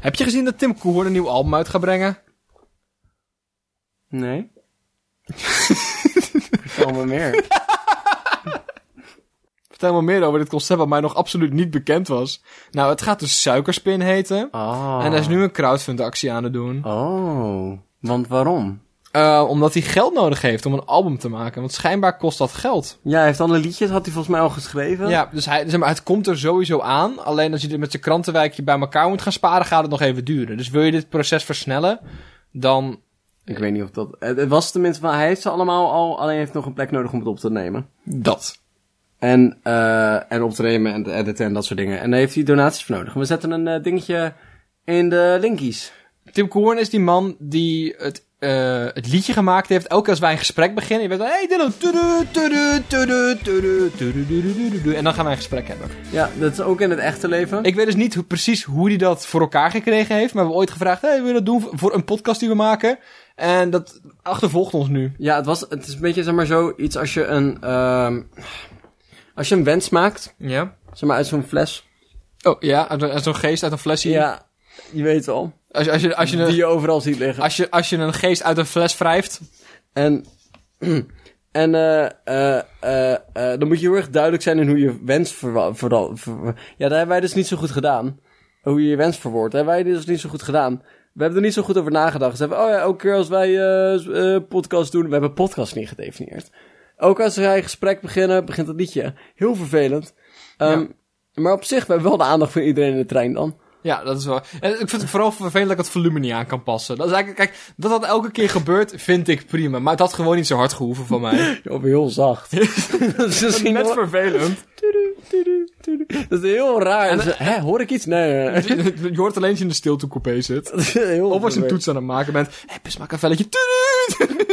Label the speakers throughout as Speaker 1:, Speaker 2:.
Speaker 1: Heb je gezien dat Tim Koer een nieuw album uit gaat brengen?
Speaker 2: Nee. Vertel me meer.
Speaker 1: Vertel me meer over dit concept wat mij nog absoluut niet bekend was. Nou, het gaat dus Suikerspin heten.
Speaker 2: Oh.
Speaker 1: En hij is nu een crowdfundactie aan het doen.
Speaker 2: Oh. Want waarom?
Speaker 1: Eh, omdat hij geld nodig heeft om een album te maken. Want schijnbaar kost dat geld.
Speaker 2: Ja, hij heeft alle liedjes, had hij volgens mij al geschreven.
Speaker 1: Ja, dus hij, zeg maar, het komt er sowieso aan. Alleen als je dit met zijn krantenwijkje bij elkaar moet gaan sparen, gaat het nog even duren. Dus wil je dit proces versnellen, dan...
Speaker 2: Ik weet niet of dat... Het het was tenminste van, hij heeft ze allemaal al, alleen heeft nog een plek nodig om het op te nemen.
Speaker 1: Dat.
Speaker 2: En, eh en op te nemen en te editen en dat soort dingen. En daar heeft hij donaties voor nodig. We zetten een eh, dingetje in de linkies.
Speaker 1: Tim Koorn is die man die het, eh, het liedje gemaakt heeft. Elke keer als wij een gesprek beginnen, je weet dan... Hey Dylan, tudu, tudu, tudu, tudu, tudu, tudu, tudu, tudu. en dan gaan wij een gesprek hebben.
Speaker 2: Ja, dat is ook in het echte leven.
Speaker 1: Ik weet dus niet hoe, precies hoe hij dat voor elkaar gekregen heeft. Maar we hebben ooit gevraagd, hey, wil je dat doen voor- voor een podcast die we maken? En dat achtervolgt ons nu.
Speaker 2: Ja, het, was, het is een beetje zeg maar zoiets als je een... ehm, als je een wens maakt,
Speaker 1: Ja.
Speaker 2: zeg maar uit zo'n fles.
Speaker 1: Oh ja, uit, uit zo'n geest uit een fles zien.
Speaker 2: Ja, je weet wel.
Speaker 1: Als, je- als, je, als, je
Speaker 2: Die
Speaker 1: een,
Speaker 2: je overal ziet liggen.
Speaker 1: als, je, als je een geest uit een fles wrijft.
Speaker 2: En, en eh, eh, eh, eh, dan moet je heel erg duidelijk zijn in hoe je wens verwa- vooral. ver- ja, daar hebben wij dus niet zo goed gedaan. Hoe je je wens verwoordt. Daar hebben wij dus niet zo goed gedaan. We hebben er niet zo goed over nagedacht. Ze hebben, oh ja, elke keer als wij eh, z- eh, podcast doen. We hebben podcast niet gedefinieerd. Ook als wij een gesprek beginnen, begint dat liedje. Heel vervelend. Ehm, Maar op zich, we hebben wel de aandacht van iedereen in de trein dan.
Speaker 1: Ja, dat is wel. En ik vind het vooral vervelend dat ik het volume niet aan kan passen. Dat is eigenlijk, kijk, dat dat elke keer gebeurt, vind ik prima. Maar het had gewoon niet zo hard gehoeven van mij.
Speaker 2: Of heel zacht. dat is misschien
Speaker 1: Net
Speaker 2: wel-
Speaker 1: vervelend.
Speaker 2: Tudu, tudu, tudu. Dat is heel raar.
Speaker 1: En-
Speaker 2: Dus, Hè, hoor ik iets? Nee. nee, nee.
Speaker 1: Je hoort alleen als je in de stiltecoupé zit.
Speaker 2: Dat is heel
Speaker 1: Of als je een
Speaker 2: vervelend.
Speaker 1: toets aan het maken bent. Hé, hey, pismak een velletje.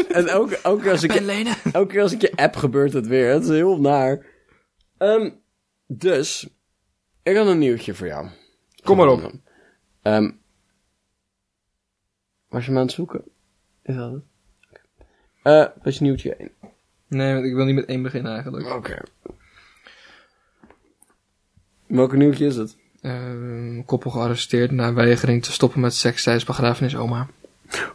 Speaker 2: En elke, elke, keer als ik,
Speaker 1: Ben lenen.
Speaker 2: elke keer als ik je app gebeurt het weer. Het is heel naar. Ehm, dus, ik had een nieuwtje voor jou.
Speaker 1: Kom maar op.
Speaker 2: Ehm, was je me aan het zoeken? Is dat het? Eh, was je nieuwtje 1?
Speaker 1: Nee, want ik wil niet met één beginnen eigenlijk.
Speaker 2: Welke nieuwtje is het?
Speaker 1: Ehm, koppel gearresteerd na weigering te stoppen met seks tijdens begrafenis oma.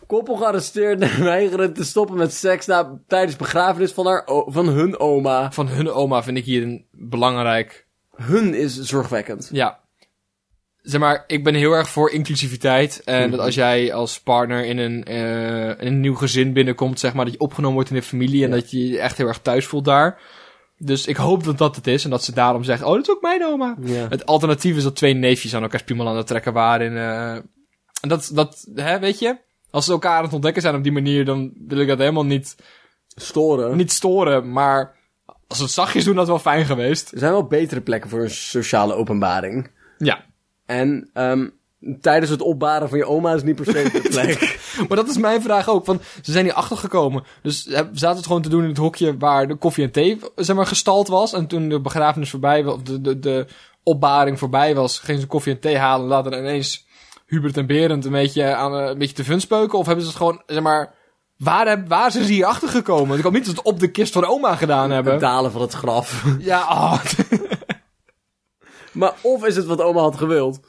Speaker 2: Koppel gearresteerd na weigeren te stoppen met seks na, tijdens begrafenis van, haar, o- van hun oma.
Speaker 1: Van hun oma vind ik hier een belangrijk.
Speaker 2: Hun is zorgwekkend.
Speaker 1: Ja. Zeg maar, ik ben heel erg voor inclusiviteit. En dat als jij als partner in een, eh, in een nieuw gezin binnenkomt, zeg maar, dat je opgenomen wordt in de familie en
Speaker 2: Ja.
Speaker 1: dat je je echt heel erg thuis voelt daar. Dus ik hoop dat dat het is en dat ze daarom zegt, oh, dat is ook mijn oma.
Speaker 2: Ja.
Speaker 1: Het alternatief is dat twee neefjes aan elkaar spiemel aan het trekken waren. in, eh, En dat, dat hè, weet je, als ze elkaar aan het ontdekken zijn op die manier, dan wil ik dat helemaal niet,
Speaker 2: Storen.
Speaker 1: niet storen. Maar als ze het zachtjes doen, dat is wel fijn geweest.
Speaker 2: Er zijn wel betere plekken voor een sociale openbaring.
Speaker 1: Ja.
Speaker 2: En ehm, tijdens het opbaren van je oma is niet per se de plek.
Speaker 1: Maar dat is mijn vraag ook, want ze zijn hier achtergekomen. Dus eh, zaten het gewoon te doen in het hokje waar de koffie en thee, zeg maar, gestald was. En toen de begrafenis voorbij was, of de, de, de opbaring voorbij was, gingen ze koffie en thee halen. En later ineens Hubert en Berend een beetje, aan, eh, een beetje te funspeuken. Of hebben ze het gewoon, zeg maar, waar, heb, waar zijn ze hier achtergekomen? Ik hoop niet dat ze het op de kist van oma gedaan
Speaker 2: het
Speaker 1: hebben.
Speaker 2: dalen van het graf.
Speaker 1: Ja, oh,
Speaker 2: Maar of is het wat oma had gewild?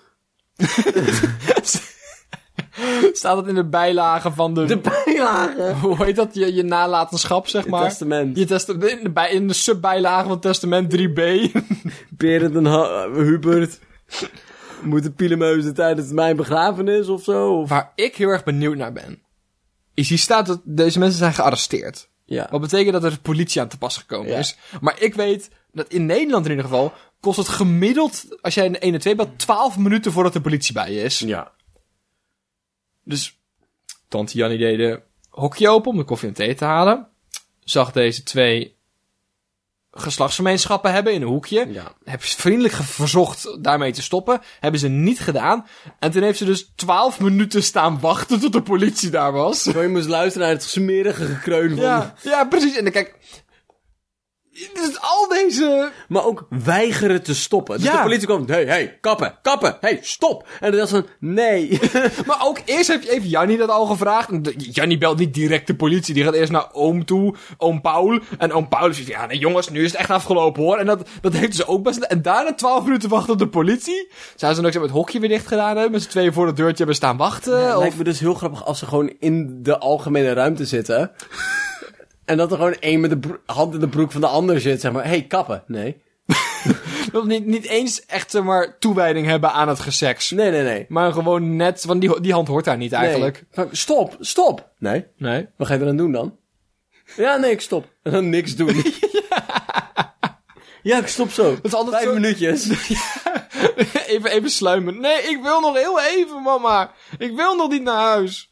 Speaker 1: staat het in de bijlagen van de...
Speaker 2: De bijlagen.
Speaker 1: Hoe heet dat? Je, je nalatenschap, zeg
Speaker 2: Het
Speaker 1: maar.
Speaker 2: testament.
Speaker 1: Je test in de, bij, in de subbijlage van het testament 3b.
Speaker 2: Berend en Ha- Hubert moeten pilemeuzen tijdens mijn begrafenis of zo. Of...
Speaker 1: Waar ik heel erg benieuwd naar ben, is hier staat dat deze mensen zijn gearresteerd.
Speaker 2: Ja.
Speaker 1: Wat betekent dat er politie aan te pas gekomen
Speaker 2: Ja.
Speaker 1: is. Maar ik weet dat in Nederland in ieder geval kost het gemiddeld, als jij een 1 en 2 belt, 12 minuten voordat de politie bij je is.
Speaker 2: ja.
Speaker 1: Dus tante Jannie deed de hokje open om de koffie en thee te halen. Zag deze twee geslachtsgemeenschappen hebben in een hoekje.
Speaker 2: Ja.
Speaker 1: Heb ze vriendelijk ge- verzocht daarmee te stoppen. Hebben ze niet gedaan. En toen heeft ze dus 12 minuten staan wachten tot de politie daar was.
Speaker 2: Zo je moest luisteren naar het smerige gekreun van...
Speaker 1: Ja, ja precies. En dan kijk. Dus al deze...
Speaker 2: Maar ook weigeren te stoppen. Dus
Speaker 1: Ja.
Speaker 2: de politie kwam, hey, hey, kappen, kappen, hey, stop. En dan dacht ze van, nee.
Speaker 1: Maar ook eerst heb je even Jannie dat al gevraagd. En de- Jannie belt niet direct de politie. Die gaat eerst naar oom toe, oom Paul. En oom Paul zegt, ja nee, jongens, nu is het echt afgelopen hoor. En dat, dat heeft ze ook best... En daarna twaalf minuten wachten op de politie. Zouden ze dan ook zeg maar, het hokje weer dicht gedaan hebben? Met z'n tweeën voor dat deurtje hebben staan wachten?
Speaker 2: Het
Speaker 1: of...
Speaker 2: lijkt me dus heel grappig als ze gewoon in de algemene ruimte zitten. en dat er gewoon één met de bro- hand in de broek van de ander zit, zeg maar. hey, kappen. Nee.
Speaker 1: Dat niet, niet eens echt zeg maar, toewijding hebben aan het geseks.
Speaker 2: Nee, nee, nee.
Speaker 1: Maar gewoon net, want die, die hand hoort daar niet
Speaker 2: Nee.
Speaker 1: eigenlijk.
Speaker 2: Van, Stop, stop. Nee.
Speaker 1: Nee.
Speaker 2: Wat ga je eraan doen dan? Ja, nee, ik stop. En dan niks doen. ja, ik stop zo.
Speaker 1: is altijd
Speaker 2: Vijf
Speaker 1: zo-
Speaker 2: minuutjes.
Speaker 1: even, even sluimen. Nee, ik wil nog heel even, mama. Ik wil nog niet naar huis.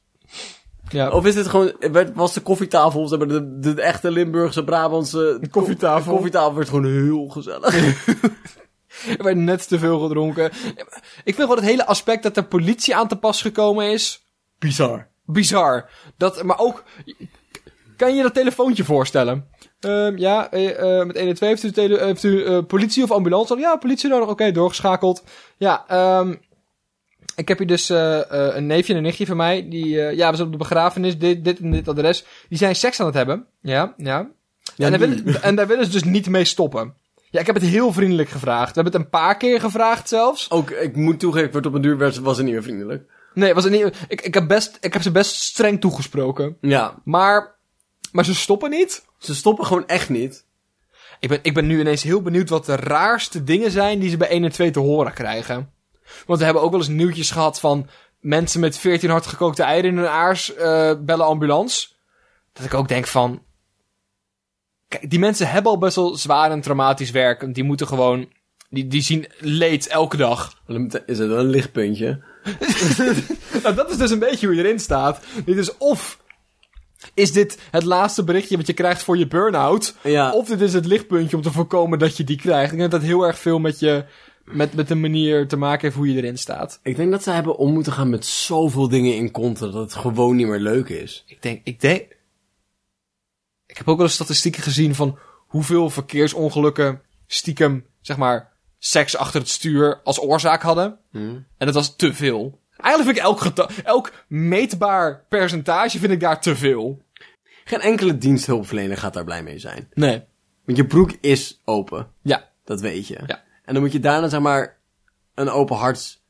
Speaker 1: Ja,
Speaker 2: Of is dit gewoon... werd- Was de koffietafel, zeg maar, de, de echte Limburgse, Brabantse... De
Speaker 1: koffietafel.
Speaker 2: koffietafel werd gewoon heel gezellig.
Speaker 1: er werd net te veel gedronken. Ik vind gewoon het hele aspect dat de politie aan te pas gekomen is,
Speaker 2: Bizar.
Speaker 1: bizar. Dat, maar ook, kan je dat telefoontje voorstellen? Ehm, ja, eh, eh, met 112 heeft u, tele, heeft u eh, politie of ambulance? Ja, politie nodig. Oké, doorgeschakeld. Ja, ehm, ik heb hier dus eh, eh, een neefje en een nichtje van mij. Die, eh, ja, we zijn op de begrafenis, dit, dit en dit adres. Die zijn seks aan het hebben. Ja, ja.
Speaker 2: Ja,
Speaker 1: en, daar
Speaker 2: nu.
Speaker 1: willen, en daar willen ze dus niet mee stoppen. Ja, ik heb het heel vriendelijk gevraagd. We hebben het een paar keer gevraagd zelfs.
Speaker 2: Ook, ik moet toegeven, ik werd op een duur werd, was het niet meer vriendelijk.
Speaker 1: Nee, was het niet, ik, ik, heb best, ik heb ze best streng toegesproken.
Speaker 2: Ja,
Speaker 1: Maar, maar ze stoppen niet.
Speaker 2: ze stoppen gewoon echt niet.
Speaker 1: Ik ben, ik ben nu ineens heel benieuwd wat de raarste dingen zijn die ze bij 1 en 2 te horen krijgen. Want we hebben ook wel eens nieuwtjes gehad van mensen met 14 hardgekookte eieren in hun aars eh, bellen ambulance. Dat ik ook denk van... Kijk, die mensen hebben al best wel zwaar en traumatisch werk. want Die moeten gewoon... Die, die zien leed elke dag.
Speaker 2: Dan Is het wel een lichtpuntje?
Speaker 1: Nou, dat is dus een beetje hoe je erin staat. Dit is of is dit het laatste berichtje wat je krijgt voor je burn-out,
Speaker 2: Ja.
Speaker 1: of dit is het lichtpuntje om te voorkomen dat je die krijgt. Ik denk dat dat heel erg veel met je, met, met de manier te maken heeft hoe je erin staat.
Speaker 2: Ik denk dat ze hebben om moeten gaan met zoveel dingen in content dat het gewoon niet meer leuk is.
Speaker 1: Ik denk, ik denk, ik heb ook wel eens statistieken gezien van hoeveel verkeersongelukken stiekem, zeg maar, seks achter het stuur als oorzaak hadden. En dat was te veel. Eigenlijk vind ik elk, geta- elk meetbaar percentage vind ik daar te veel.
Speaker 2: Geen enkele diensthulpverlener gaat daar blij mee zijn.
Speaker 1: Nee.
Speaker 2: Want je broek is open,
Speaker 1: Ja,
Speaker 2: dat weet je.
Speaker 1: Ja.
Speaker 2: En dan moet je daarna zeg maar een open harts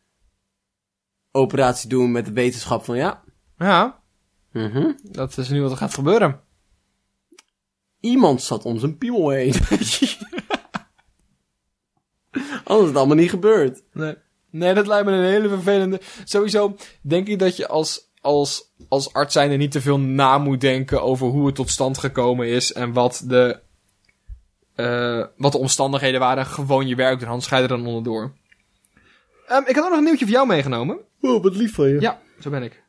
Speaker 2: operatie doen met de wetenschap van ja,
Speaker 1: Ja,
Speaker 2: mhm,
Speaker 1: dat is nu wat er gaat gebeuren.
Speaker 2: iemand zat om zijn piemel heen. Anders is het allemaal niet gebeurd.
Speaker 1: Nee. Nee, dat lijkt me een hele vervelende. Sowieso denk ik dat je als, als, als arts zijnde niet te veel na moet denken over hoe het tot stand gekomen is en wat de, eh, wat de omstandigheden waren. Gewoon je werk eraan, scheid er dan onderdoor. Ehm, ik had ook nog een nieuwtje voor jou meegenomen.
Speaker 2: Wow, wat lief van je.
Speaker 1: Ja, zo ben ik.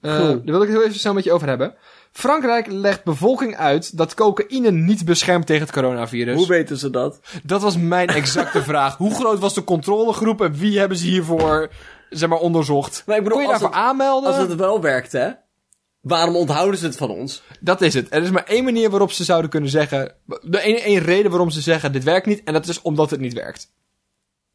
Speaker 1: Eh,
Speaker 2: Cool.
Speaker 1: Daar wil ik het heel even snel met je over hebben. Frankrijk legt bevolking uit dat cocaïne niet beschermt tegen het coronavirus.
Speaker 2: Hoe weten ze dat?
Speaker 1: Dat was mijn exacte vraag. Hoe groot was de controlegroep en wie hebben ze hiervoor, zeg maar, onderzocht?
Speaker 2: Maar ik bedoel,
Speaker 1: Kun je
Speaker 2: Nou, als
Speaker 1: daarvoor aanmelden?
Speaker 2: Als het wel werkt, hè? Waarom onthouden ze het van ons?
Speaker 1: Dat is het. Er is maar één manier waarop ze zouden kunnen zeggen... De één, één reden waarom ze zeggen, dit werkt niet. En dat is omdat het niet werkt.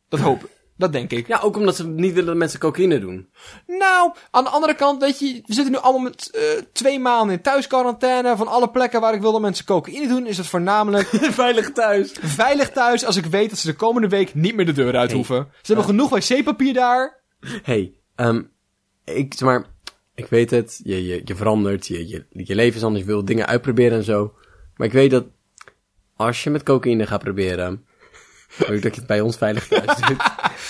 Speaker 1: Dat hoop ik. Dat denk ik.
Speaker 2: Ja, ook omdat ze niet willen dat mensen cocaïne doen.
Speaker 1: Nou, aan de andere kant, weet je... We zitten nu allemaal met eh, twee maanden in thuisquarantaine. Van alle plekken waar ik wil dat mensen cocaïne doen... is dat voornamelijk
Speaker 2: Veilig thuis.
Speaker 1: veilig thuis... als ik weet dat ze de komende week niet meer de deur uit
Speaker 2: Hey.
Speaker 1: hoeven. Ze hebben genoeg wc-papier daar.
Speaker 2: hey, ehm, ik, zeg maar, ik weet het. Je, je, je verandert, je, je, je leven is anders, je wil dingen uitproberen en zo. Maar ik weet dat als je met cocaïne gaat proberen... wil ik dat je het bij ons veilig thuis doet.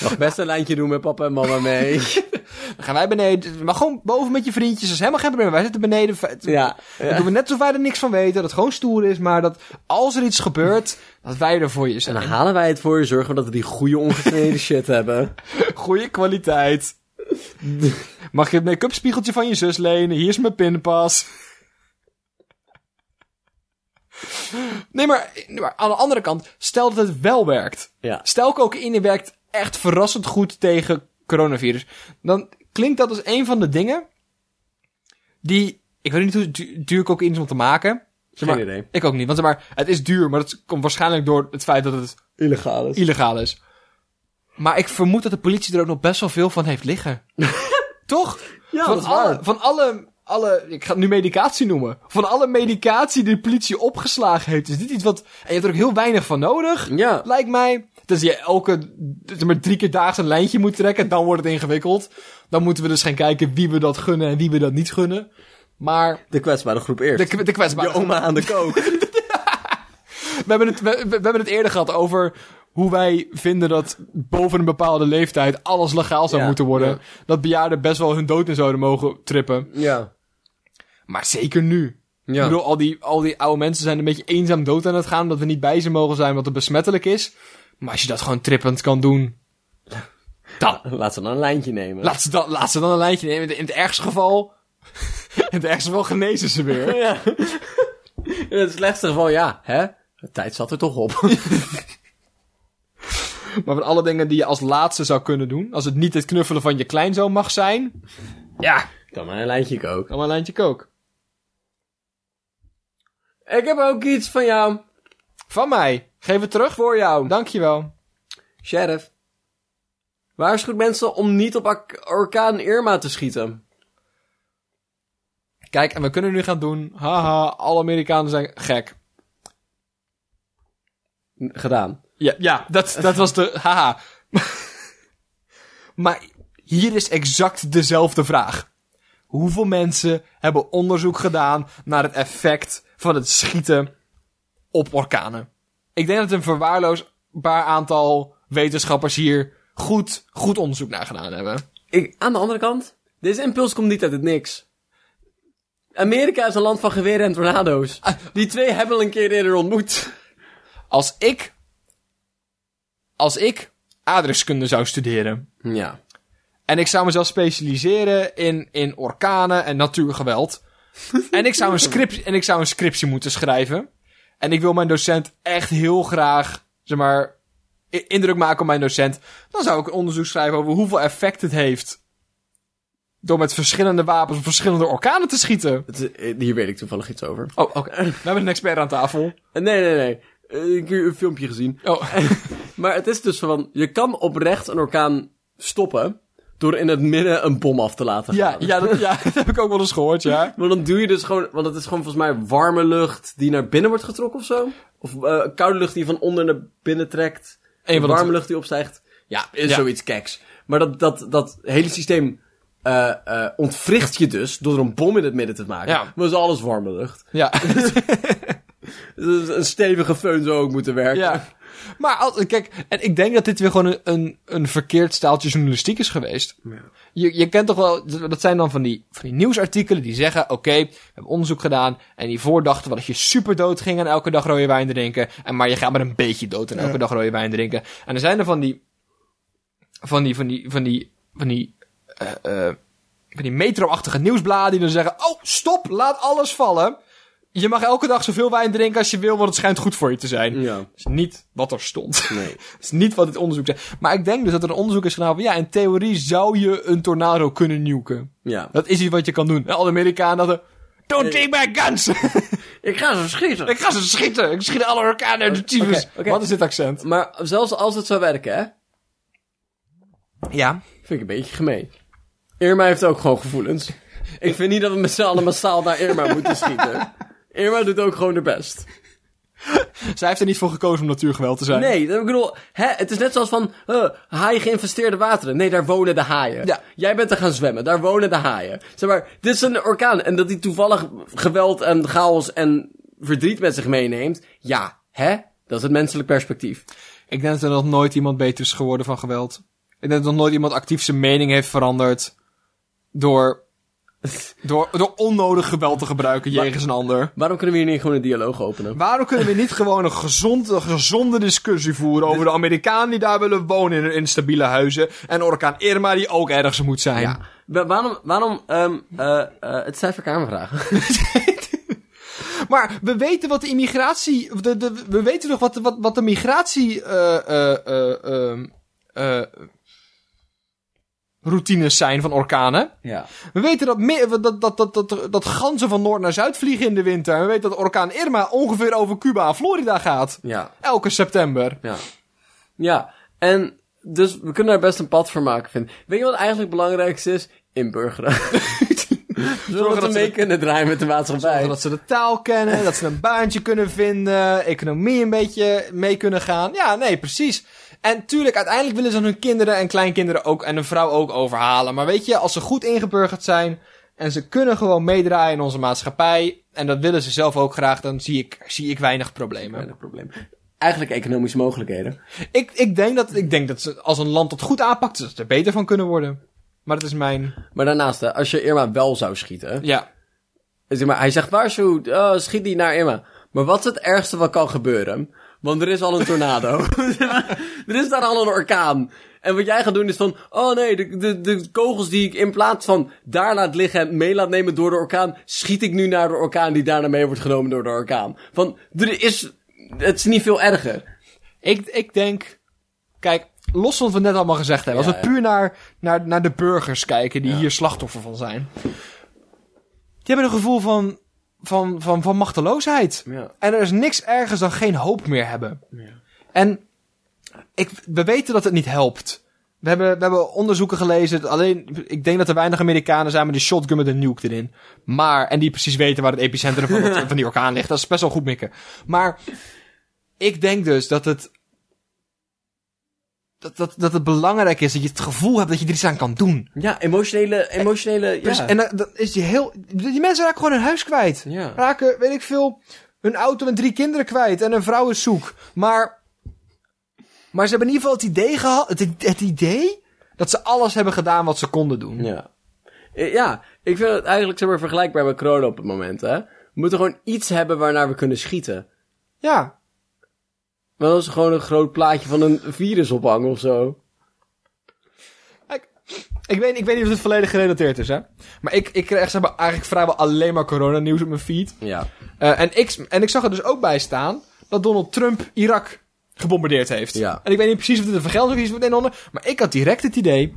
Speaker 2: Mag best een lijntje doen met papa en mama mee.
Speaker 1: Dan gaan wij beneden. Maar gewoon boven met je vriendjes. Dat is helemaal geen probleem. Wij zitten beneden. Fe-
Speaker 2: ja,
Speaker 1: Dan doen we net alsof wij er niks van weten. Dat het gewoon stoer is. Maar dat als er iets gebeurt, dat wij er voor je
Speaker 2: En
Speaker 1: zijn.
Speaker 2: dan halen wij het voor je, zorgen we dat we die goede ongesneden shit hebben.
Speaker 1: Goeie kwaliteit. Mag je het make-up spiegeltje van je zus lenen? Hier is mijn pinpas. Nee, maar, nee, maar aan de andere kant, stel dat het wel werkt.
Speaker 2: Ja.
Speaker 1: Stel cocaïne werkt echt verrassend goed tegen coronavirus. Dan klinkt dat als een van de dingen die... Ik weet niet hoe du- duur cocaïne is om te maken. Zeg maar,
Speaker 2: Geen idee.
Speaker 1: Ik ook niet. Want zeg maar, het is duur, maar dat komt waarschijnlijk door het feit dat het
Speaker 2: Illegaal is.
Speaker 1: illegaal is. Maar ik vermoed dat de politie er ook nog best wel veel van heeft liggen. Toch?
Speaker 2: Ja,
Speaker 1: van
Speaker 2: dat is
Speaker 1: alle,
Speaker 2: waar.
Speaker 1: Van alle, alle, ik ga het nu medicatie noemen. Van alle medicatie die de politie opgeslagen heeft, is dit iets wat... En je hebt er ook heel weinig van nodig,
Speaker 2: Ja.
Speaker 1: lijkt mij. Dus je elke, zeg maar drie keer daags een lijntje moet trekken, dan wordt het ingewikkeld. Dan moeten we dus gaan kijken wie we dat gunnen en wie we dat niet gunnen. Maar
Speaker 2: De kwetsbare groep eerst.
Speaker 1: de, de kwetsbare
Speaker 2: Je oma aan de kook.
Speaker 1: we hebben, het, we, we- we hebben het eerder gehad over hoe wij vinden dat boven een bepaalde leeftijd alles legaal zou
Speaker 2: Ja,
Speaker 1: moeten worden.
Speaker 2: ja.
Speaker 1: Dat bejaarden best wel hun dood in zouden mogen trippen.
Speaker 2: ja.
Speaker 1: Maar zeker nu.
Speaker 2: Ja.
Speaker 1: Ik bedoel, al die, al die oude mensen zijn een beetje eenzaam dood aan het gaan. Omdat we niet bij ze mogen zijn, omdat het besmettelijk is. Maar als je dat gewoon trippend kan doen. Dan.
Speaker 2: Laat ze dan een lijntje nemen.
Speaker 1: Laat ze dan, laat ze dan een lijntje nemen. In het- In het ergste geval. In het ergste geval genezen ze weer.
Speaker 2: Ja. In het slechtste geval, ja. Hè? De tijd zat er toch op.
Speaker 1: Maar van alle dingen die je als laatste zou kunnen doen. Als het niet het knuffelen van je kleinzoon mag zijn. Ja,
Speaker 2: Dan maar een lijntje kook.
Speaker 1: dan maar een lijntje kook.
Speaker 2: Ik heb ook iets van jou.
Speaker 1: Van mij. Geef het terug.
Speaker 2: Voor jou.
Speaker 1: Dankjewel.
Speaker 2: Sheriff. Waarschuwt mensen om niet op ak- orkaan Irma te schieten.
Speaker 1: Kijk, en we kunnen nu gaan doen. Haha, alle Amerikanen zijn gek.
Speaker 2: N- Gedaan.
Speaker 1: Ja, ja dat, dat was de. Haha. maar hier is exact dezelfde vraag. Hoeveel mensen hebben onderzoek gedaan naar het effect van het schieten op orkanen? Ik denk dat een verwaarloosbaar aantal wetenschappers hier goed, goed onderzoek naar gedaan hebben.
Speaker 2: Ik, aan de andere kant, deze impuls komt niet uit het niks. Amerika is een land van geweren en tornado's. Ah, Die twee hebben we een keer eerder ontmoet.
Speaker 1: Als ik. Als ik aardrijkskunde zou studeren.
Speaker 2: Ja.
Speaker 1: En ik zou mezelf specialiseren in, in orkanen en natuurgeweld. en, ik zou een script, en ik zou een scriptie moeten schrijven. En ik wil mijn docent echt heel graag, zeg maar, i- indruk maken op mijn docent. Dan zou ik een onderzoek schrijven over hoeveel effect het heeft. Door met verschillende wapens op verschillende orkanen te schieten.
Speaker 2: Het is- eh, hier weet ik toevallig iets over.
Speaker 1: Oh, oké. We hebben een expert aan tafel.
Speaker 2: Eh, Nee, nee, nee. Eh, Ik heb een filmpje gezien.
Speaker 1: Oh,
Speaker 2: Maar het is dus van, je kan oprecht een orkaan stoppen door in het midden een bom af te laten gaan.
Speaker 1: ja, ja, dat, ja, dat heb ik ook wel eens gehoord, ja.
Speaker 2: Maar dan doe je dus gewoon, want het is gewoon volgens mij warme lucht die naar binnen wordt getrokken of zo. Of eh, koude lucht die van onder naar binnen trekt.
Speaker 1: Eén van de
Speaker 2: warme
Speaker 1: twee.
Speaker 2: lucht die opstijgt. Ja, is
Speaker 1: Ja.
Speaker 2: zoiets keks. Maar dat, dat, dat hele systeem eh, eh, ontwricht je dus door een bom in het midden te maken.
Speaker 1: Ja.
Speaker 2: Maar dat is alles warme lucht.
Speaker 1: Ja,
Speaker 2: Dus een stevige feun zou ook moeten werken.
Speaker 1: ja. Maar als, kijk, en ik denk dat dit weer gewoon een, een, een verkeerd staaltje journalistiek is geweest. Je, je kent toch wel, dat zijn dan van die, van die nieuwsartikelen die zeggen: Oké, we hebben onderzoek gedaan. En hiervoor dachten we dat je super dood ging aan elke dag rode wijn drinken. En maar je gaat maar een beetje dood aan elke dag rode wijn drinken. En er zijn er van die. van die, van die, van die, van die. eh, eh, van die metro-achtige nieuwsbladen die dan zeggen: Oh, stop, laat alles vallen. Je mag elke dag zoveel wijn drinken als je wil, want het schijnt goed voor je te zijn.
Speaker 2: Ja.
Speaker 1: Dat is niet wat er stond.
Speaker 2: Nee.
Speaker 1: Dat is niet wat het onderzoek zei. Maar ik denk dus dat er een onderzoek is gedaan van... Ja, in theorie zou je een tornado kunnen nuken.
Speaker 2: Ja.
Speaker 1: Dat is iets wat je kan doen. En Alle Amerikanen hadden... Don't take my guns!
Speaker 2: Ik ga ze schieten.
Speaker 1: ik ga ze schieten! Ik schiet alle orkanen uit de tyfus!
Speaker 2: Oké, oké.
Speaker 1: Wat is dit accent?
Speaker 2: Maar zelfs als het zou werken, hè?
Speaker 1: Ja.
Speaker 2: Vind ik een beetje gemeen. Irma heeft ook gewoon gevoelens. Ik vind niet dat we met z'n allen massaal naar Irma moeten schieten. Irma doet ook gewoon haar best.
Speaker 1: Zij heeft er niet voor gekozen om natuurgeweld te zijn.
Speaker 2: Nee, dat- ik bedoel, hè, het is net zoals van eh, haaien geïnvesteerde wateren. Nee, daar wonen de haaien.
Speaker 1: Ja.
Speaker 2: Jij bent er gaan zwemmen, daar wonen de haaien. Zeg maar, dit is een orkaan. En dat die toevallig geweld en chaos en verdriet met zich meeneemt. Ja, hè? Dat is het menselijk perspectief.
Speaker 1: Ik denk dat er nog nooit iemand beter is geworden van geweld. Ik denk dat nog nooit iemand actief zijn mening heeft veranderd... door... door, door onnodig geweld te gebruiken jegens een ander.
Speaker 2: Waarom kunnen we hier niet gewoon een dialoog openen?
Speaker 1: Waarom kunnen we niet gewoon een, gezond, een gezonde discussie voeren over de Amerikanen die daar willen wonen in hun instabiele huizen en orkaan Irma die ook ergens moet zijn?
Speaker 2: Ja. Wa- waarom, waarom, ehm eh eh het zijn voor kamervragen.
Speaker 1: Maar we weten wat de immigratie, de, de, we weten nog wat, de- wat, wat de migratie, eh eh eh ehm, eh, routines zijn van orkanen.
Speaker 2: Ja.
Speaker 1: We weten dat, me- dat, dat, dat, dat, dat ganzen van noord naar zuid vliegen in de winter. En we weten dat orkaan Irma ongeveer over Cuba en Florida gaat.
Speaker 2: Ja.
Speaker 1: Elke september.
Speaker 2: Ja. Ja. En dus we kunnen daar best een pad voor maken, vind ik. Weet je wat eigenlijk het belangrijkste is? Inburgeren. Zodat we
Speaker 1: dat ze
Speaker 2: mee
Speaker 1: de-
Speaker 2: kunnen draaien met de maatschappij.
Speaker 1: Dat ze de taal kennen, dat ze een baantje kunnen vinden, economie een beetje mee kunnen gaan. Ja, nee, precies. En tuurlijk, uiteindelijk willen ze hun kinderen en kleinkinderen ook en hun vrouw ook overhalen. Maar weet je, als ze goed ingeburgerd zijn en ze kunnen gewoon meedraaien in onze maatschappij, en dat willen ze zelf ook graag, dan zie ik, zie ik weinig problemen.
Speaker 2: Weinig probleem. Eigenlijk economische mogelijkheden.
Speaker 1: Ik, ik, denk dat, ik denk dat ze als een land dat goed aanpakt, dat ze er beter van kunnen worden. Maar dat is mijn...
Speaker 2: Maar daarnaast, hè, als je Irma wel zou schieten.
Speaker 1: Ja.
Speaker 2: Zeg maar, hij zegt waarschuw, oh, schiet die naar Irma. Maar wat is het ergste wat kan gebeuren? Want er is al een tornado. Zeg maar, er is daar al een orkaan. En wat jij gaat doen is van, oh nee, de, de, de kogels die ik in plaats van daar laat liggen en mee laat nemen door de orkaan, schiet ik nu naar de orkaan die daarna mee wordt genomen door de orkaan. Van, er is, het is niet veel erger.
Speaker 1: Ik, ik denk, kijk, los van wat we net allemaal gezegd hebben,
Speaker 2: Ja,
Speaker 1: als we
Speaker 2: ja.
Speaker 1: puur naar, naar, naar de burgers kijken die hier slachtoffer van zijn, die hebben een gevoel van, van, van, van machteloosheid.
Speaker 2: Ja.
Speaker 1: En er is niks ergers dan geen hoop meer hebben. En ik, we weten dat het niet helpt. We hebben, we hebben onderzoeken gelezen. Alleen, ik denk dat er weinig Amerikanen zijn met die shotgun met een nuke erin. Maar, en die precies weten waar het epicentrum van, dat- van die orkaan ligt. Dat is best wel goed mikken. Maar, ik denk dus dat het, dat, dat, dat het belangrijk is dat je het gevoel hebt dat je er iets aan kan doen.
Speaker 2: Ja, emotionele, emotionele,
Speaker 1: Dus,
Speaker 2: ja.
Speaker 1: En dat, dat is die heel, die mensen raken gewoon hun huis kwijt.
Speaker 2: Ja.
Speaker 1: Raken, weet ik veel, hun auto en drie kinderen kwijt en een vrouw is zoek. Maar, maar ze hebben in ieder geval het idee gehad, het, het idee dat ze alles hebben gedaan wat ze konden doen.
Speaker 2: Ja. Eh, Ja, ik vind het eigenlijk zeg maar, vergelijkbaar met corona op het moment. Hè? We moeten gewoon iets hebben waarnaar we kunnen schieten.
Speaker 1: Ja.
Speaker 2: Maar als we gewoon een groot plaatje van een virus ophangen of zo.
Speaker 1: Ik, ik, weet, ik weet niet of het volledig gerelateerd is, hè. Maar ik, ik krijg zeg maar, eigenlijk vrijwel alleen maar coronanieuws op mijn feed.
Speaker 2: Ja.
Speaker 1: Eh, en, ik, en ik zag er dus ook bij staan dat Donald Trump Irak gebombardeerd heeft.
Speaker 2: Ja.
Speaker 1: En ik weet niet precies of dit een vergelding is van een en ander. Maar ik had direct het idee.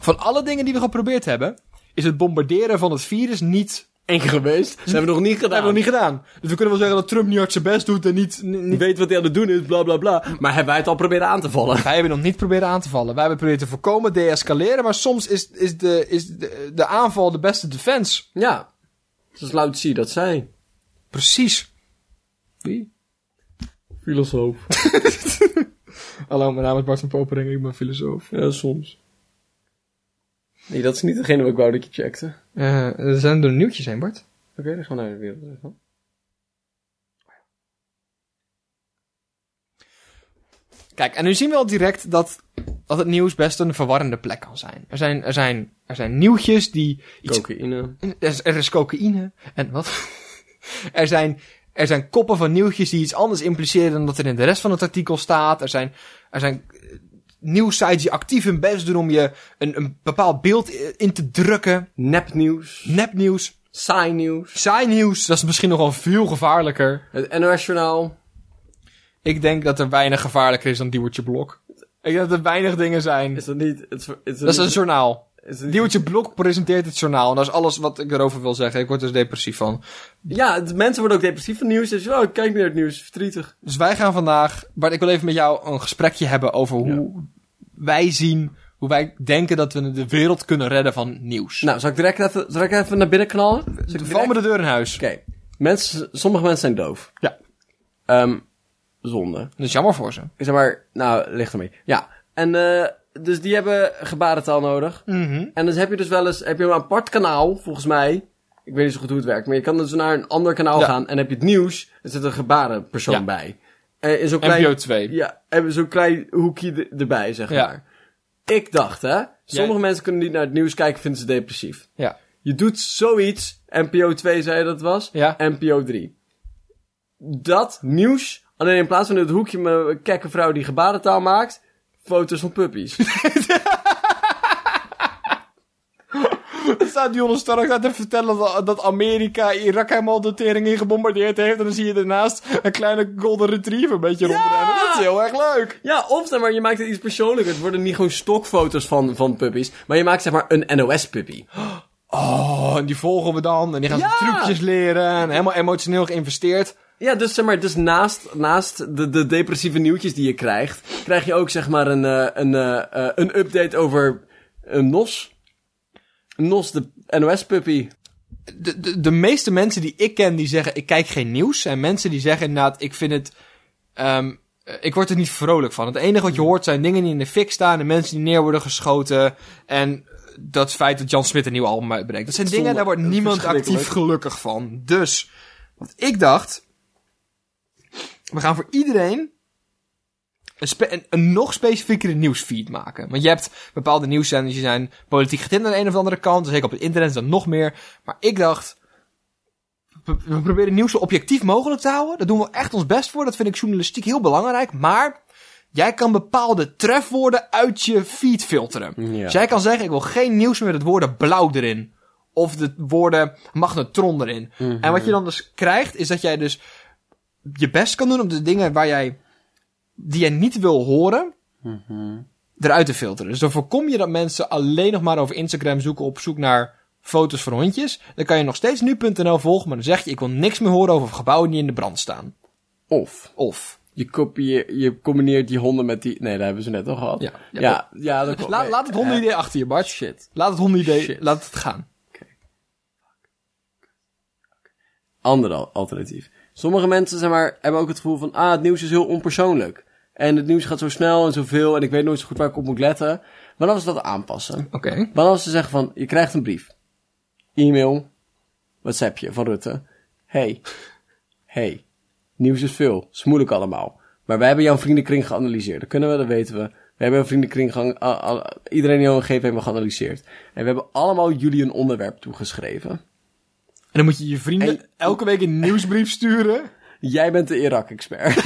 Speaker 1: Van alle dingen die we geprobeerd hebben, is het bombarderen van het virus niet.
Speaker 2: Eén keer geweest. Dat hebben we nog niet
Speaker 1: Dat
Speaker 2: gedaan.
Speaker 1: hebben we nog niet gedaan. Dus we kunnen wel zeggen dat Trump niet hard zijn best doet en niet. ni- niet...
Speaker 2: weet wat hij aan het doen is, bla bla bla. Maar hebben wij het al proberen aan te vallen?
Speaker 1: Wij hebben nog niet proberen aan te vallen. Wij hebben proberen te voorkomen, deescaleren. Maar soms is, is, de, is de, de aanval de beste defense.
Speaker 2: Ja. Zoals Lao Tzu dat zei.
Speaker 1: Precies.
Speaker 2: Wie? Filosoof.
Speaker 1: Hallo, mijn naam is Bart van Popering. Ik ben filosoof.
Speaker 2: ja, soms. Nee, dat is niet degene wat ik wou dat je checkte. Oké,
Speaker 1: Eh, er zijn er nieuwtjes heen, Bart.
Speaker 2: dan gaan we naar de wereld.
Speaker 1: Kijk, en nu zien we al direct dat, dat het nieuws best een verwarrende plek kan zijn. Er zijn, er zijn, er zijn nieuwtjes die iets...
Speaker 2: Cocaïne.
Speaker 1: Er is, er is cocaïne en wat? er, zijn, er zijn koppen van nieuwtjes die iets anders impliceren dan dat er in de rest van het artikel staat. Er zijn, er zijn eh, nieuwsites die actief hun best doen om je een, een bepaald beeld i- in te drukken.
Speaker 2: Nepnieuws.
Speaker 1: Nepnieuws,
Speaker 2: Saai nieuws.
Speaker 1: saai nieuws, dat is misschien nog wel veel gevaarlijker.
Speaker 2: Het NOS Journaal.
Speaker 1: Ik denk dat er weinig gevaarlijker is dan Diewertje Blok. Ik denk dat er weinig dingen zijn.
Speaker 2: Is dat niet... Het, is- het is
Speaker 1: Dat is een journaal.
Speaker 2: is het niet-
Speaker 1: Diewertje Blok presenteert het journaal. En dat is alles wat ik erover wil zeggen. Ik word dus depressief van.
Speaker 2: Ja, het- mensen worden ook depressief van nieuws. Dus, oh, ik kijk niet naar het nieuws. Verdrietig.
Speaker 1: Dus wij gaan vandaag... Bart, ik wil even met jou een gesprekje hebben over hoe wij zien... Hoe wij denken dat we de wereld kunnen redden van nieuws.
Speaker 2: Nou, zal ik direct even, zal ik even naar binnen knallen? Zal ik
Speaker 1: we
Speaker 2: direct-
Speaker 1: vallen met de deur in huis.
Speaker 2: Oké. Mensen, sommige mensen zijn doof.
Speaker 1: Ja.
Speaker 2: Ehm, zonde.
Speaker 1: Dat is jammer voor ze.
Speaker 2: Ik zeg maar, nou, ligt ermee. Ja. En, eh, dus die hebben gebarentaal nodig.
Speaker 1: Mhm.
Speaker 2: En dan heb je dus wel eens, heb je een apart kanaal, volgens mij. Ik weet niet zo goed hoe het werkt, maar je kan dus naar een ander kanaal
Speaker 1: Ja.
Speaker 2: gaan en heb je het nieuws. Er zit een gebarenpersoon
Speaker 1: Ja.
Speaker 2: bij. En in zo'n klein,
Speaker 1: NPO 2.
Speaker 2: Ja, hebben zo'n klein hoekje er- erbij, zeg
Speaker 1: Ja.
Speaker 2: maar. Ik dacht, hè. Sommige mensen kunnen niet naar het nieuws kijken, vinden ze depressief.
Speaker 1: Ja.
Speaker 2: Je doet zoiets, NPO 2 zei je dat het was,
Speaker 1: Ja.
Speaker 2: NPO 3. Dat nieuws, alleen in plaats van het hoekje met een kekke vrouw die gebarentaal maakt, foto's van puppies.
Speaker 1: Dat staat Dionne Stark daar te vertellen dat, dat Amerika Irak helemaal de tering in gebombardeerd heeft. En dan zie je daarnaast een kleine golden retriever een beetje rondrennen. Dat is heel erg leuk.
Speaker 2: Ja, of zeg maar, je maakt het iets persoonlijker. Het worden niet gewoon stokfoto's van, van puppies, maar je maakt zeg maar een NOS-puppy.
Speaker 1: Oh, en die volgen we dan. En die gaan
Speaker 2: Ja.
Speaker 1: ze trucjes leren. En helemaal emotioneel geïnvesteerd.
Speaker 2: Ja, dus zeg maar, dus naast, naast de, de depressieve nieuwtjes die je krijgt, krijg je ook zeg maar een, eh, een, eh, eh, een update over eh, een NOS. NOS, de NOS-puppy.
Speaker 1: de, de, de meeste mensen die ik ken die zeggen ik kijk geen nieuws. En mensen die zeggen inderdaad ik vind het... ehm, eh, ik word er niet vrolijk van. Het enige wat je hoort zijn dingen die in de fik staan. En mensen die neer worden geschoten. En dat feit dat Jan Smit een nieuw album uitbrengt. Dat zijn
Speaker 2: Zonde.
Speaker 1: dingen daar wordt niemand
Speaker 2: Verschrikkelijk.
Speaker 1: actief gelukkig van. Dus wat ik dacht... We gaan voor iedereen een, spe- een, een nog specifiekere nieuwsfeed maken. Want je hebt bepaalde nieuwszenders die zijn politiek getint aan de een of andere kant. Dus Zeker op het internet is dat nog meer. Maar ik dacht, we, we proberen nieuws zo objectief mogelijk te houden. Daar doen we echt ons best voor. Dat vind ik journalistiek heel belangrijk. Maar jij kan bepaalde trefwoorden uit je feed filteren.
Speaker 2: Ja.
Speaker 1: Dus jij kan zeggen, ik wil geen nieuws meer met het woorden blauw erin. Of de woorden magnetron erin. En wat je dan dus krijgt, is dat jij dus je best kan doen op de dingen waar jij die je niet wil horen, Mhm. eruit te filteren. Dus dan voorkom je dat mensen alleen nog maar over Instagram zoeken op zoek naar foto's van hondjes. Dan kan je nog steeds nu.nl volgen, maar dan zeg je ik wil niks meer horen over gebouwen die in de brand staan.
Speaker 2: Of.
Speaker 1: Of.
Speaker 2: Je, kopieer, je combineert die honden met die... Nee, dat hebben ze net al gehad.
Speaker 1: Ja.
Speaker 2: ja, ja, dat klopt. Eh,
Speaker 1: La-
Speaker 2: Nee.
Speaker 1: laat het hondenidee achter je, Bart. Shit. Laat het hondenidee, laat het gaan.
Speaker 2: ander al- alternatief. Sommige mensen zeg maar, hebben ook het gevoel van, ah, het nieuws is heel onpersoonlijk. En het nieuws gaat zo snel en zoveel en ik weet nooit zo goed waar ik op moet letten. Maar als ze dat aanpassen.
Speaker 1: Oké.
Speaker 2: Maar als ze zeggen van, je krijgt een brief. E-mail. WhatsAppje van Rutte. Hey. Hey. Nieuws is veel. Is moeilijk allemaal. Maar wij hebben jouw vriendenkring geanalyseerd. Dat kunnen we, dat weten we. We hebben een vriendenkring, gehan- a- a- iedereen die jou een gegeven hebben we geanalyseerd. En we hebben allemaal jullie een onderwerp toegeschreven.
Speaker 1: En dan moet je je vrienden
Speaker 2: Hey.
Speaker 1: elke week een nieuwsbrief sturen.
Speaker 2: Jij bent de Irak-expert.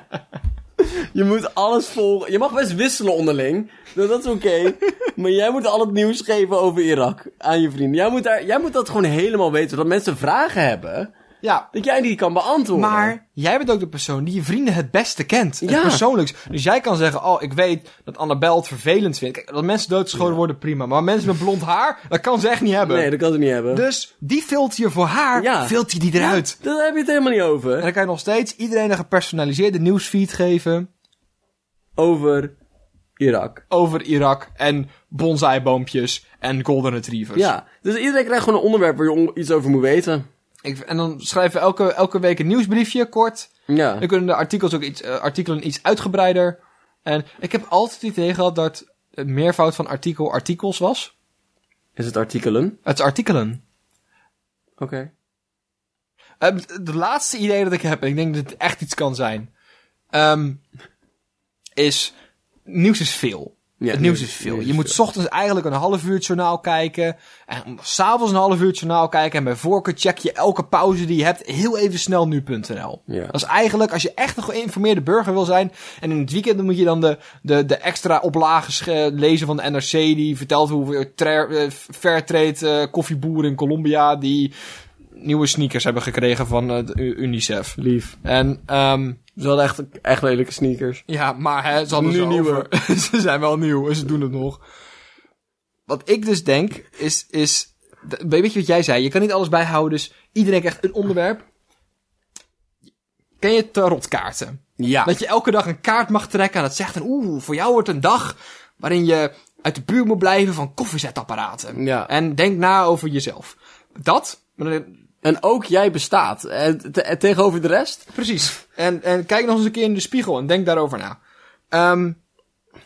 Speaker 2: je moet alles volgen. Je mag best wisselen onderling. Nou, dat is oké. maar jij moet al het nieuws geven over Irak aan je vrienden. Jij moet, daar, jij moet dat gewoon helemaal weten. Dat mensen vragen hebben.
Speaker 1: Ja,
Speaker 2: Dat jij die kan beantwoorden.
Speaker 1: Maar jij bent ook de persoon die je vrienden het beste kent. Het
Speaker 2: Ja.
Speaker 1: persoonlijks. Dus jij kan zeggen, oh, ik weet dat Annabel het vervelend vindt. Kijk, dat mensen doodgeschoten worden, prima. Maar mensen met blond haar, dat kan ze echt niet hebben.
Speaker 2: Nee, dat kan ze niet hebben.
Speaker 1: Dus die filter je voor haar,
Speaker 2: Ja.
Speaker 1: filter je die eruit.
Speaker 2: Daar heb je het helemaal niet
Speaker 1: En
Speaker 2: over.
Speaker 1: dan kan je nog steeds iedereen een gepersonaliseerde nieuwsfeed geven
Speaker 2: Over Irak.
Speaker 1: over Irak en bonsaiboompjes en golden retrievers.
Speaker 2: Ja, dus iedereen krijgt gewoon een onderwerp waar je on- iets over moet weten.
Speaker 1: Ik, en dan schrijven we elke, elke week een nieuwsbriefje, kort.
Speaker 2: Ja.
Speaker 1: Dan kunnen de artikels ook iets, eh, artikelen iets uitgebreider. En ik heb altijd het idee gehad dat het meervoud van artikel artikels was.
Speaker 2: Is het artikelen?
Speaker 1: Het is artikelen.
Speaker 2: Oké.
Speaker 1: Eh, de laatste idee dat ik heb, en ik denk dat het echt iets kan zijn, ehm, is nieuws is veel.
Speaker 2: Ja,
Speaker 1: het nieuws is veel. Je moet 's ochtends eigenlijk een half uur het journaal kijken. En s'avonds een half uur het journaal kijken. En bij voorkeur check je elke pauze die je hebt heel even snel nu.nl.
Speaker 2: Ja.
Speaker 1: Dat is eigenlijk, als je echt een geïnformeerde burger wil zijn. En in het weekend dan moet je dan de, de, de extra oplages eh, lezen van de NRC. Die vertelt hoeveel tra- eh, fairtrade eh, koffieboeren in Colombia. die nieuwe sneakers hebben gekregen van eh, de U- UNICEF.
Speaker 2: Lief.
Speaker 1: En, ehm,
Speaker 2: Ze hadden echt, echt lelijke sneakers.
Speaker 1: ja, maar hè, ze hadden
Speaker 2: Nu
Speaker 1: ze
Speaker 2: nieuwe.
Speaker 1: over. ze zijn wel nieuw en ze doen het nog. Wat ik dus denk, is, is... d- Weet je wat jij zei? Je kan niet alles bijhouden, dus iedereen krijgt een onderwerp. Ken je tarotkaarten?
Speaker 2: Ja.
Speaker 1: Dat je elke dag een kaart mag trekken en dat zegt... een, Oeh, voor jou wordt een dag waarin je uit de buurt moet blijven van koffiezetapparaten.
Speaker 2: Ja.
Speaker 1: En denk na over jezelf. Dat... maar dan-
Speaker 2: En ook jij bestaat. En te- en tegenover de rest?
Speaker 1: Precies. En, en kijk nog eens een keer in de spiegel en denk daarover na. Ehm,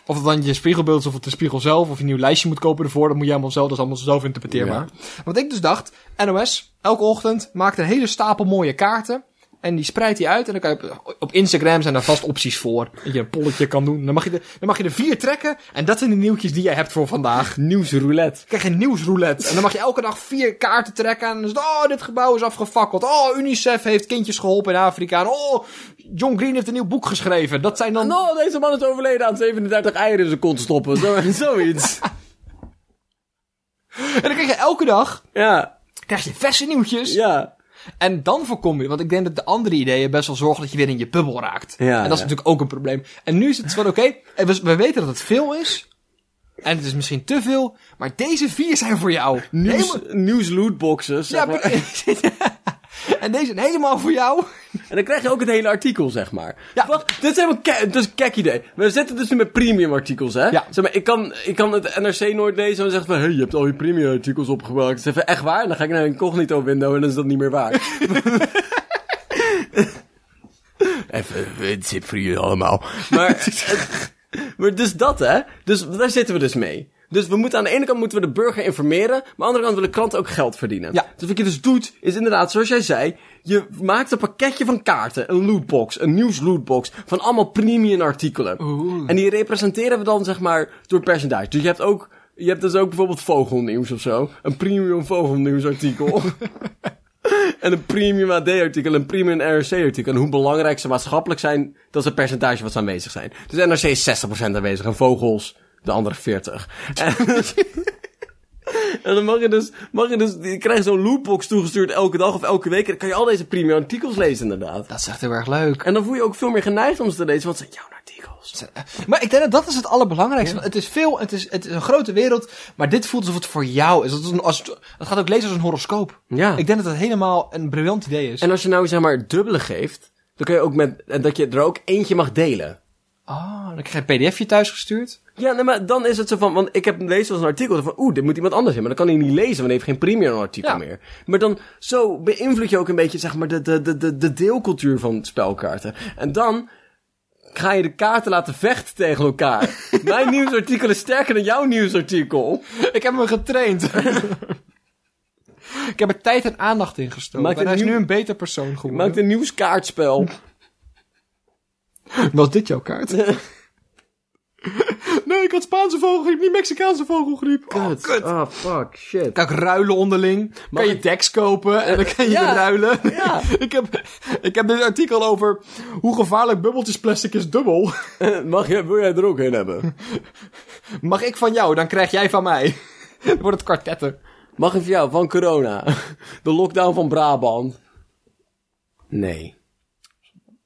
Speaker 1: of het dan je spiegelbeeld is of het de spiegel zelf, of je een nieuw lijstje moet kopen ervoor, dat moet je allemaal zelf, dat is allemaal zelf interpreteerbaar. Wat ik dus dacht, NOS, elke ochtend maakt een hele stapel mooie kaarten. En die spreidt die uit en dan kan je op, op Instagram zijn daar vast opties voor. Dat je een polletje kan doen. Dan mag, je er, dan mag je er vier trekken en dat zijn de nieuwtjes die jij hebt voor vandaag.
Speaker 2: Nieuwsroulette.
Speaker 1: Ik krijg je een nieuwsroulette. En dan mag je elke dag vier kaarten trekken. En dan is het, oh, dit gebouw is afgefakkeld. Oh, UNICEF heeft kindjes geholpen in Afrika. En oh, John Green heeft een nieuw boek geschreven. Dat zijn dan...
Speaker 2: Nou, deze man is overleden aan 37 eieren in zijn kont stoppen. Zo, zoiets.
Speaker 1: En dan krijg je elke dag
Speaker 2: Ja,
Speaker 1: krijg je verse nieuwtjes.
Speaker 2: ja.
Speaker 1: En dan voorkom je, want ik denk dat de andere ideeën best wel zorgen dat je weer in je bubbel raakt.
Speaker 2: Ja,
Speaker 1: en dat is
Speaker 2: ja.
Speaker 1: natuurlijk ook een probleem. En nu is het van, oké, en we, we weten dat het veel is. En het is misschien te veel, maar deze vier zijn voor jou.
Speaker 2: Nieuws,
Speaker 1: Helemaal-
Speaker 2: nieuws lootboxes. Zeg
Speaker 1: ja,
Speaker 2: maar.
Speaker 1: precies. en deze zijn helemaal voor jou.
Speaker 2: En dan krijg je ook het hele artikel, zeg maar.
Speaker 1: Ja.
Speaker 2: Wacht, dit is helemaal ke- dit is een kek idee. We zitten dus nu met premium artikels, hè?
Speaker 1: Ja.
Speaker 2: Zeg maar, ik kan, ik kan het NRC nooit lezen en dan zeggen van... Hé, hey, je hebt al je premium artikels opgebruikt. Zeg van, echt waar? En dan ga ik naar een incognito window en dan is dat niet meer waar. Even, eh, het zit voor jullie allemaal. Maar, het- maar dus dat, hè? Dus daar zitten we dus mee. Dus we moeten aan de ene kant moeten we de burger informeren, maar aan de andere kant willen klanten ook geld verdienen.
Speaker 1: Ja.
Speaker 2: Dus wat je dus doet, is inderdaad, zoals jij zei, je maakt een pakketje van kaarten, een lootbox, een nieuwslootbox, van allemaal premium artikelen.
Speaker 1: Oeh.
Speaker 2: En die representeren we dan, zeg maar, door percentage. Dus je hebt ook, je hebt dus ook bijvoorbeeld vogelnieuws of zo. Een premium vogelnieuwsartikel. En een premium AD-artikel, een premium NRC-artikel. En hoe belangrijk ze maatschappelijk zijn, dat is het percentage wat ze aanwezig zijn. Dus NRC is 60% aanwezig en Vogels de andere 40%. En, en dan mag je dus, mag je dus, je krijgt zo'n loopbox toegestuurd elke dag of elke week. En dan kan je al deze premium artikels lezen inderdaad.
Speaker 1: Dat is echt heel erg leuk.
Speaker 2: En dan voel je ook veel meer geneigd om ze te lezen, want het zijn jouw artikels.
Speaker 1: Maar ik denk dat dat is het allerbelangrijkste. Het is veel, het is, het is een grote wereld, maar dit voelt alsof het voor jou is. Dat, is een, als, het het gaat ook lezen als een horoscoop.
Speaker 2: Ja.
Speaker 1: Ik denk dat dat helemaal een briljant idee is.
Speaker 2: En als je nou zeg maar het dubbele geeft, dan kun je ook met, en dat je er ook eentje mag delen.
Speaker 1: Ah, dan krijg je een pdfje thuis gestuurd.
Speaker 2: Ja, nee, maar dan is het zo van, want ik heb lezen als een artikel van, oeh, dit moet iemand anders hebben. Maar dan kan hij niet lezen, want hij heeft geen premium artikel
Speaker 1: Ja.
Speaker 2: meer. Maar dan, zo beïnvloed je ook een beetje, zeg maar, de, de, de- de, de deelcultuur van spelkaarten. En dan ga je de kaarten laten vechten tegen elkaar. Mijn nieuwsartikel is sterker dan jouw nieuwsartikel.
Speaker 1: Ik heb hem getraind. ik heb er tijd en aandacht in gestoken.
Speaker 2: Maakt
Speaker 1: En hij
Speaker 2: het
Speaker 1: is
Speaker 2: nieuw-
Speaker 1: nu een beter persoon geworden.
Speaker 2: Maakt een nieuwskaartspel.
Speaker 1: Was dit jouw kaart? nee, ik had Spaanse vogelgriep, niet Mexicaanse vogelgriep. Oh, kut.
Speaker 2: Oh, fuck, shit.
Speaker 1: Kan ik ruilen onderling?
Speaker 2: Mag
Speaker 1: kan je
Speaker 2: ik-
Speaker 1: tekst kopen en dan kan je
Speaker 2: Ja.
Speaker 1: weer ruilen?
Speaker 2: Ja.
Speaker 1: ik, heb, ik heb dit artikel over hoe gevaarlijk bubbeltjesplastic is dubbel.
Speaker 2: Mag jij, wil jij er ook een hebben?
Speaker 1: Mag ik van jou, dan krijg jij van mij. Dan wordt het kwartetten.
Speaker 2: Mag ik voor jou, van corona. De lockdown van Brabant. Nee.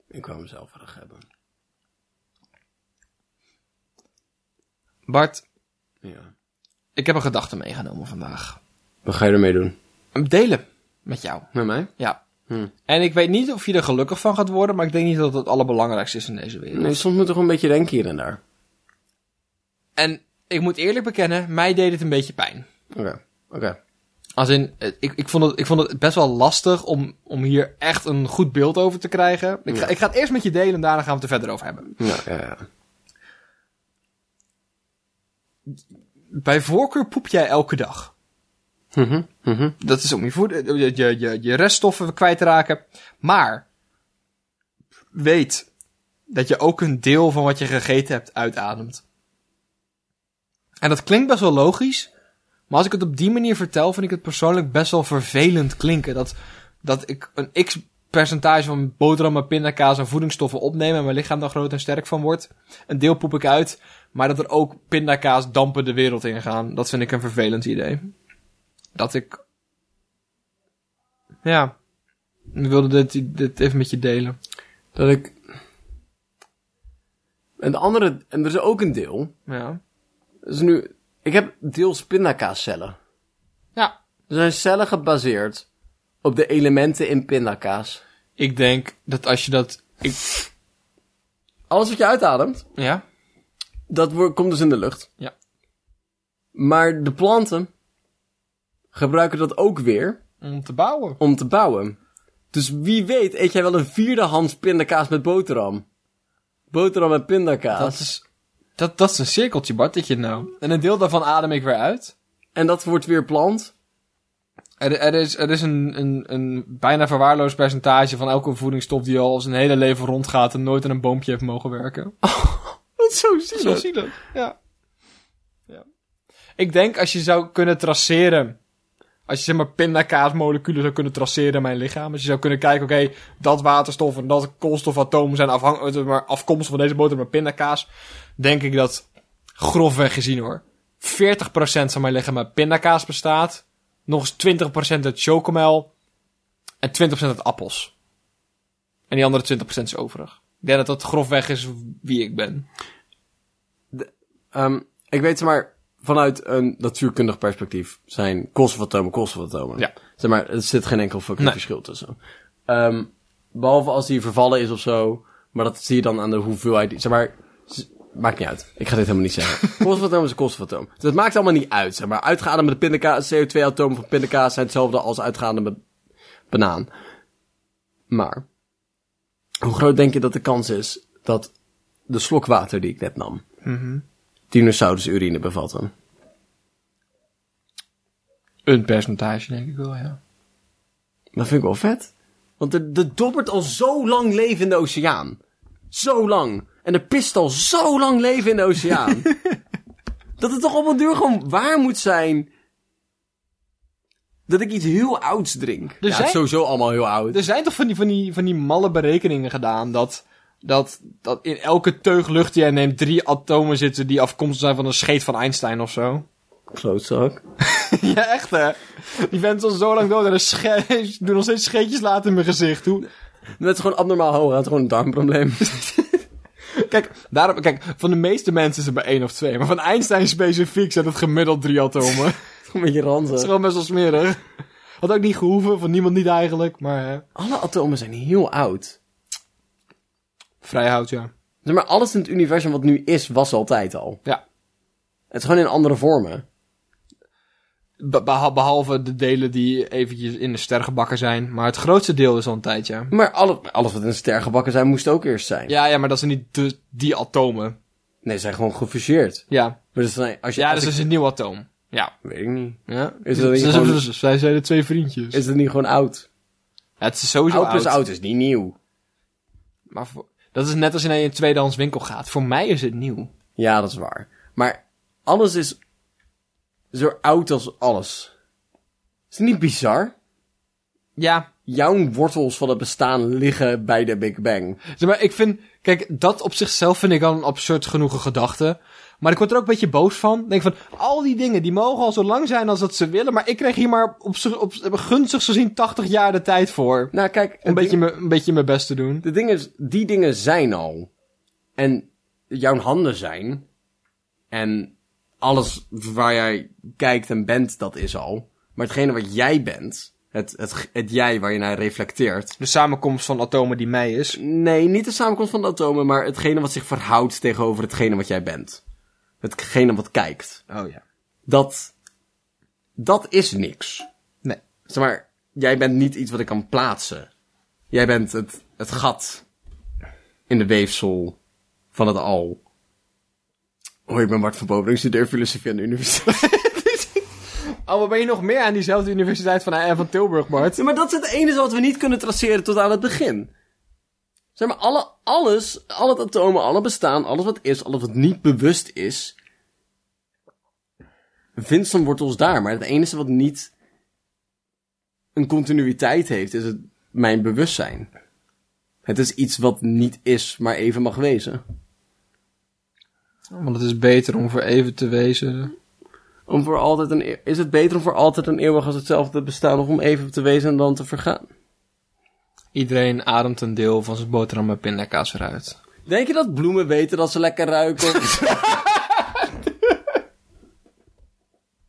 Speaker 2: Ik wou hem zelf graag hebben.
Speaker 1: Bart,
Speaker 2: Ja.
Speaker 1: ik heb een gedachte meegenomen vandaag.
Speaker 2: Wat ga je ermee doen?
Speaker 1: Hem Delen met jou.
Speaker 2: Met mij?
Speaker 1: Ja.
Speaker 2: Hm.
Speaker 1: En ik weet niet of je er gelukkig van gaat worden, maar ik denk niet dat het het allerbelangrijkste is in deze wereld.
Speaker 2: Nee, soms moet toch een beetje denken hier en daar.
Speaker 1: En ik moet eerlijk bekennen, mij deed het een beetje pijn.
Speaker 2: Oké, oké.
Speaker 1: Als in, eh, ik, ik, vond het, ik vond het best wel lastig om, om hier echt een goed beeld over te krijgen. Ik ga, ik ga het eerst met je delen en daarna gaan we het er verder over hebben.
Speaker 2: Ja, ja, ja.
Speaker 1: Bij voorkeur poep jij elke dag.
Speaker 2: Mhm, mhm.
Speaker 1: Dat is om je, voed- eh, je, je, je, je reststoffen kwijt te raken. Maar weet dat je ook een deel van wat je gegeten hebt uitademt. En dat klinkt best wel logisch. Maar als ik het op die manier vertel, vind ik het persoonlijk best wel vervelend klinken. Dat, dat ik een x percentage van boterhammen, pindakaas en voedingsstoffen opneem en mijn lichaam daar groot en sterk van wordt. Een deel poep ik uit, maar dat er ook pindakaas dampen de wereld in gaan. Dat vind ik een vervelend idee dat ik. Ja. Ik wilde dit, dit even met je delen.
Speaker 2: Dat ik... En de andere... En er is ook een deel.
Speaker 1: Ja.
Speaker 2: Dat is nu... Ik heb deels pindakaascellen.
Speaker 1: Ja.
Speaker 2: Er zijn cellen gebaseerd op de elementen in pindakaas.
Speaker 1: Ik denk dat als je dat. Ik,
Speaker 2: Alles wat je uitademt,
Speaker 1: ja.
Speaker 2: dat wordt, komt dus in de lucht.
Speaker 1: Ja.
Speaker 2: Maar de planten gebruiken dat ook weer
Speaker 1: Om te bouwen.
Speaker 2: om te bouwen. Dus wie weet eet jij wel een vierdehands pindakaas met boterham. Boterham met pindakaas.
Speaker 1: Dat is. Dat, dat is een cirkeltje, Bart, dat je nou. En een deel daarvan adem ik weer uit.
Speaker 2: En dat wordt weer plant.
Speaker 1: Er, er is, er is een, een, een bijna verwaarloosd percentage van elke voedingsstof die al zijn hele leven rondgaat en nooit aan een boompje heeft mogen werken.
Speaker 2: Wat zo
Speaker 1: Zo
Speaker 2: zielig.
Speaker 1: zielig. Ja. ja. Ik denk als je zou kunnen traceren. Als je zeg maar pindakaasmoleculen zou kunnen traceren in mijn lichaam. Als je zou kunnen kijken, oké, dat waterstof en dat koolstofatoom zijn eh, afhankelijk, maar afkomstig van deze boter met pindakaas. Denk ik dat grofweg gezien hoor. 40% zal maar liggen met pindakaas bestaat. Nog eens 20% uit chocomel. En 20% uit appels. En die andere 20% is overig. Ik denk dat dat grofweg is wie ik ben.
Speaker 2: Ehm, ik weet zeg maar vanuit een natuurkundig perspectief zijn koolstofatomen koolstofatomen.
Speaker 1: Ja.
Speaker 2: Zeg maar, er zit geen enkel fucking
Speaker 1: Nee.
Speaker 2: verschil tussen. Ehm, behalve als die vervallen is of zo, maar dat zie je dan aan de hoeveelheid. Zeg maar, z- maakt niet uit. Ik ga dit helemaal niet zeggen. koolstofatoom is een koolstofatoom. Dus het maakt allemaal niet uit. Zeg maar, uitgeademde pindakaas, CO2-atomen van pindakaas zijn hetzelfde als uitgeademde banaan. Maar, hoe groot denk je dat de kans is dat de slok water die ik net nam, dinosaurus-urine bevatten?
Speaker 1: Een percentage denk ik wel, ja.
Speaker 2: Dat vind ik wel vet. Want er, er dobbert al zo lang leven in de oceaan. Zo lang. En er pist al zo lang leven in de oceaan. dat het toch op een duur gewoon waar moet zijn. Dat ik iets heel ouds drink. ja, het
Speaker 1: zijn-
Speaker 2: is sowieso allemaal heel oud.
Speaker 1: Er zijn toch van die, van die, van die malle berekeningen gedaan dat, dat, dat in elke teug lucht die jij neemt drie atomen zitten die afkomstig zijn van een scheet van Einstein of zo.
Speaker 2: Klootzak.
Speaker 1: Ja, echt hè? Die vent is al zo lang dood en er sche- doen nog steeds scheetjes laten in mijn gezicht. Hoe...
Speaker 2: Dat is gewoon abnormaal hoog. Dat is gewoon een darmprobleem.
Speaker 1: Kijk, daarom, kijk, van de meeste mensen is het bij één of twee. Maar van Einstein specifiek zijn het gemiddeld drie atomen. Dat
Speaker 2: Gewoon een beetje
Speaker 1: is
Speaker 2: ranzig.
Speaker 1: gewoon best wel smerig. Had ook niet gehoeven, van niemand niet eigenlijk. Maar hè,
Speaker 2: Alle atomen zijn heel oud.
Speaker 1: vrijhoud, ja.
Speaker 2: Zeg maar alles in het universum wat nu is, was altijd al.
Speaker 1: Ja.
Speaker 2: Het is gewoon in andere vormen.
Speaker 1: Be- beha- behalve de delen die eventjes in de ster gebakken zijn. Maar het grootste deel is al een tijdje. Ja.
Speaker 2: Maar alle, alles wat in een ster gebakken zijn, moest ook eerst zijn.
Speaker 1: Ja, ja, maar dat zijn niet de, die atomen.
Speaker 2: Nee, ze zijn gewoon gefuseerd.
Speaker 1: Ja,
Speaker 2: Maar dat zijn, als je,
Speaker 1: ja
Speaker 2: als
Speaker 1: dus
Speaker 2: ik-
Speaker 1: dat is een nieuw atoom. Ja.
Speaker 2: Weet ik niet.
Speaker 1: ja.
Speaker 2: Is dat niet
Speaker 1: Zij-
Speaker 2: gewoon-
Speaker 1: zij- Zij zijn de twee vriendjes.
Speaker 2: Is het niet gewoon oud?
Speaker 1: Ja, het is sowieso
Speaker 2: Oud
Speaker 1: oud.
Speaker 2: plus oud is niet nieuw.
Speaker 1: Maar voor- dat is net als je naar een tweedehands winkel gaat. Voor mij is het nieuw.
Speaker 2: Ja, dat is waar. Maar alles is zo oud als alles. Is het niet bizar?
Speaker 1: Ja,
Speaker 2: Jouw wortels van het bestaan liggen bij de Big Bang.
Speaker 1: Zeg maar, ik vind... Kijk, dat op zichzelf vind ik al een absurd genoegen gedachte. Maar ik word er ook een beetje boos van. Ik denk van, al die dingen, die mogen al zo lang zijn als dat ze willen. Maar ik kreeg hier maar op, zich- op gunstig gezien 80 jaar de tijd voor. Om
Speaker 2: Nou, kijk,
Speaker 1: een
Speaker 2: het
Speaker 1: beetje,
Speaker 2: ding-
Speaker 1: me, een beetje mijn best te doen.
Speaker 2: de ding is, die dingen zijn al. En jouw handen zijn. En alles waar jij kijkt en bent, dat is al. Maar hetgene wat jij bent, het, het, het jij waar je naar reflecteert,
Speaker 1: De samenkomst van atomen die mij is.
Speaker 2: Nee, niet de samenkomst van de atomen, maar hetgene wat zich verhoudt tegenover hetgene wat jij bent. Hetgene wat kijkt.
Speaker 1: Oh ja.
Speaker 2: Dat, dat is niks.
Speaker 1: Nee.
Speaker 2: Zeg maar, jij bent niet iets wat ik kan plaatsen. Jij bent het, het gat in de weefsel van het al. Hoi, ik ben Bart van Boven, ik studeer filosofie aan de universiteit.
Speaker 1: Oh, maar ben je nog meer aan diezelfde universiteit van, eh, van Tilburg, Bart?
Speaker 2: Ja, maar dat is het enige wat we niet kunnen traceren tot aan het begin. Zeg maar, alle, alles, al het atomen, alle bestaan, alles wat is, alles wat niet bewust is, vindt zijn wortels daar. Maar het enige wat niet een continuïteit heeft, is het mijn bewustzijn. Het is iets wat niet is, maar even mag wezen.
Speaker 1: Want het is beter om voor even te wezen.
Speaker 2: Om voor altijd een, eeuw- is het beter om voor altijd en eeuwig als hetzelfde te bestaan, of om even te wezen en dan te vergaan?
Speaker 1: Iedereen ademt een deel van zijn boterham met pindakaas eruit.
Speaker 2: Denk je dat bloemen weten dat ze lekker ruiken?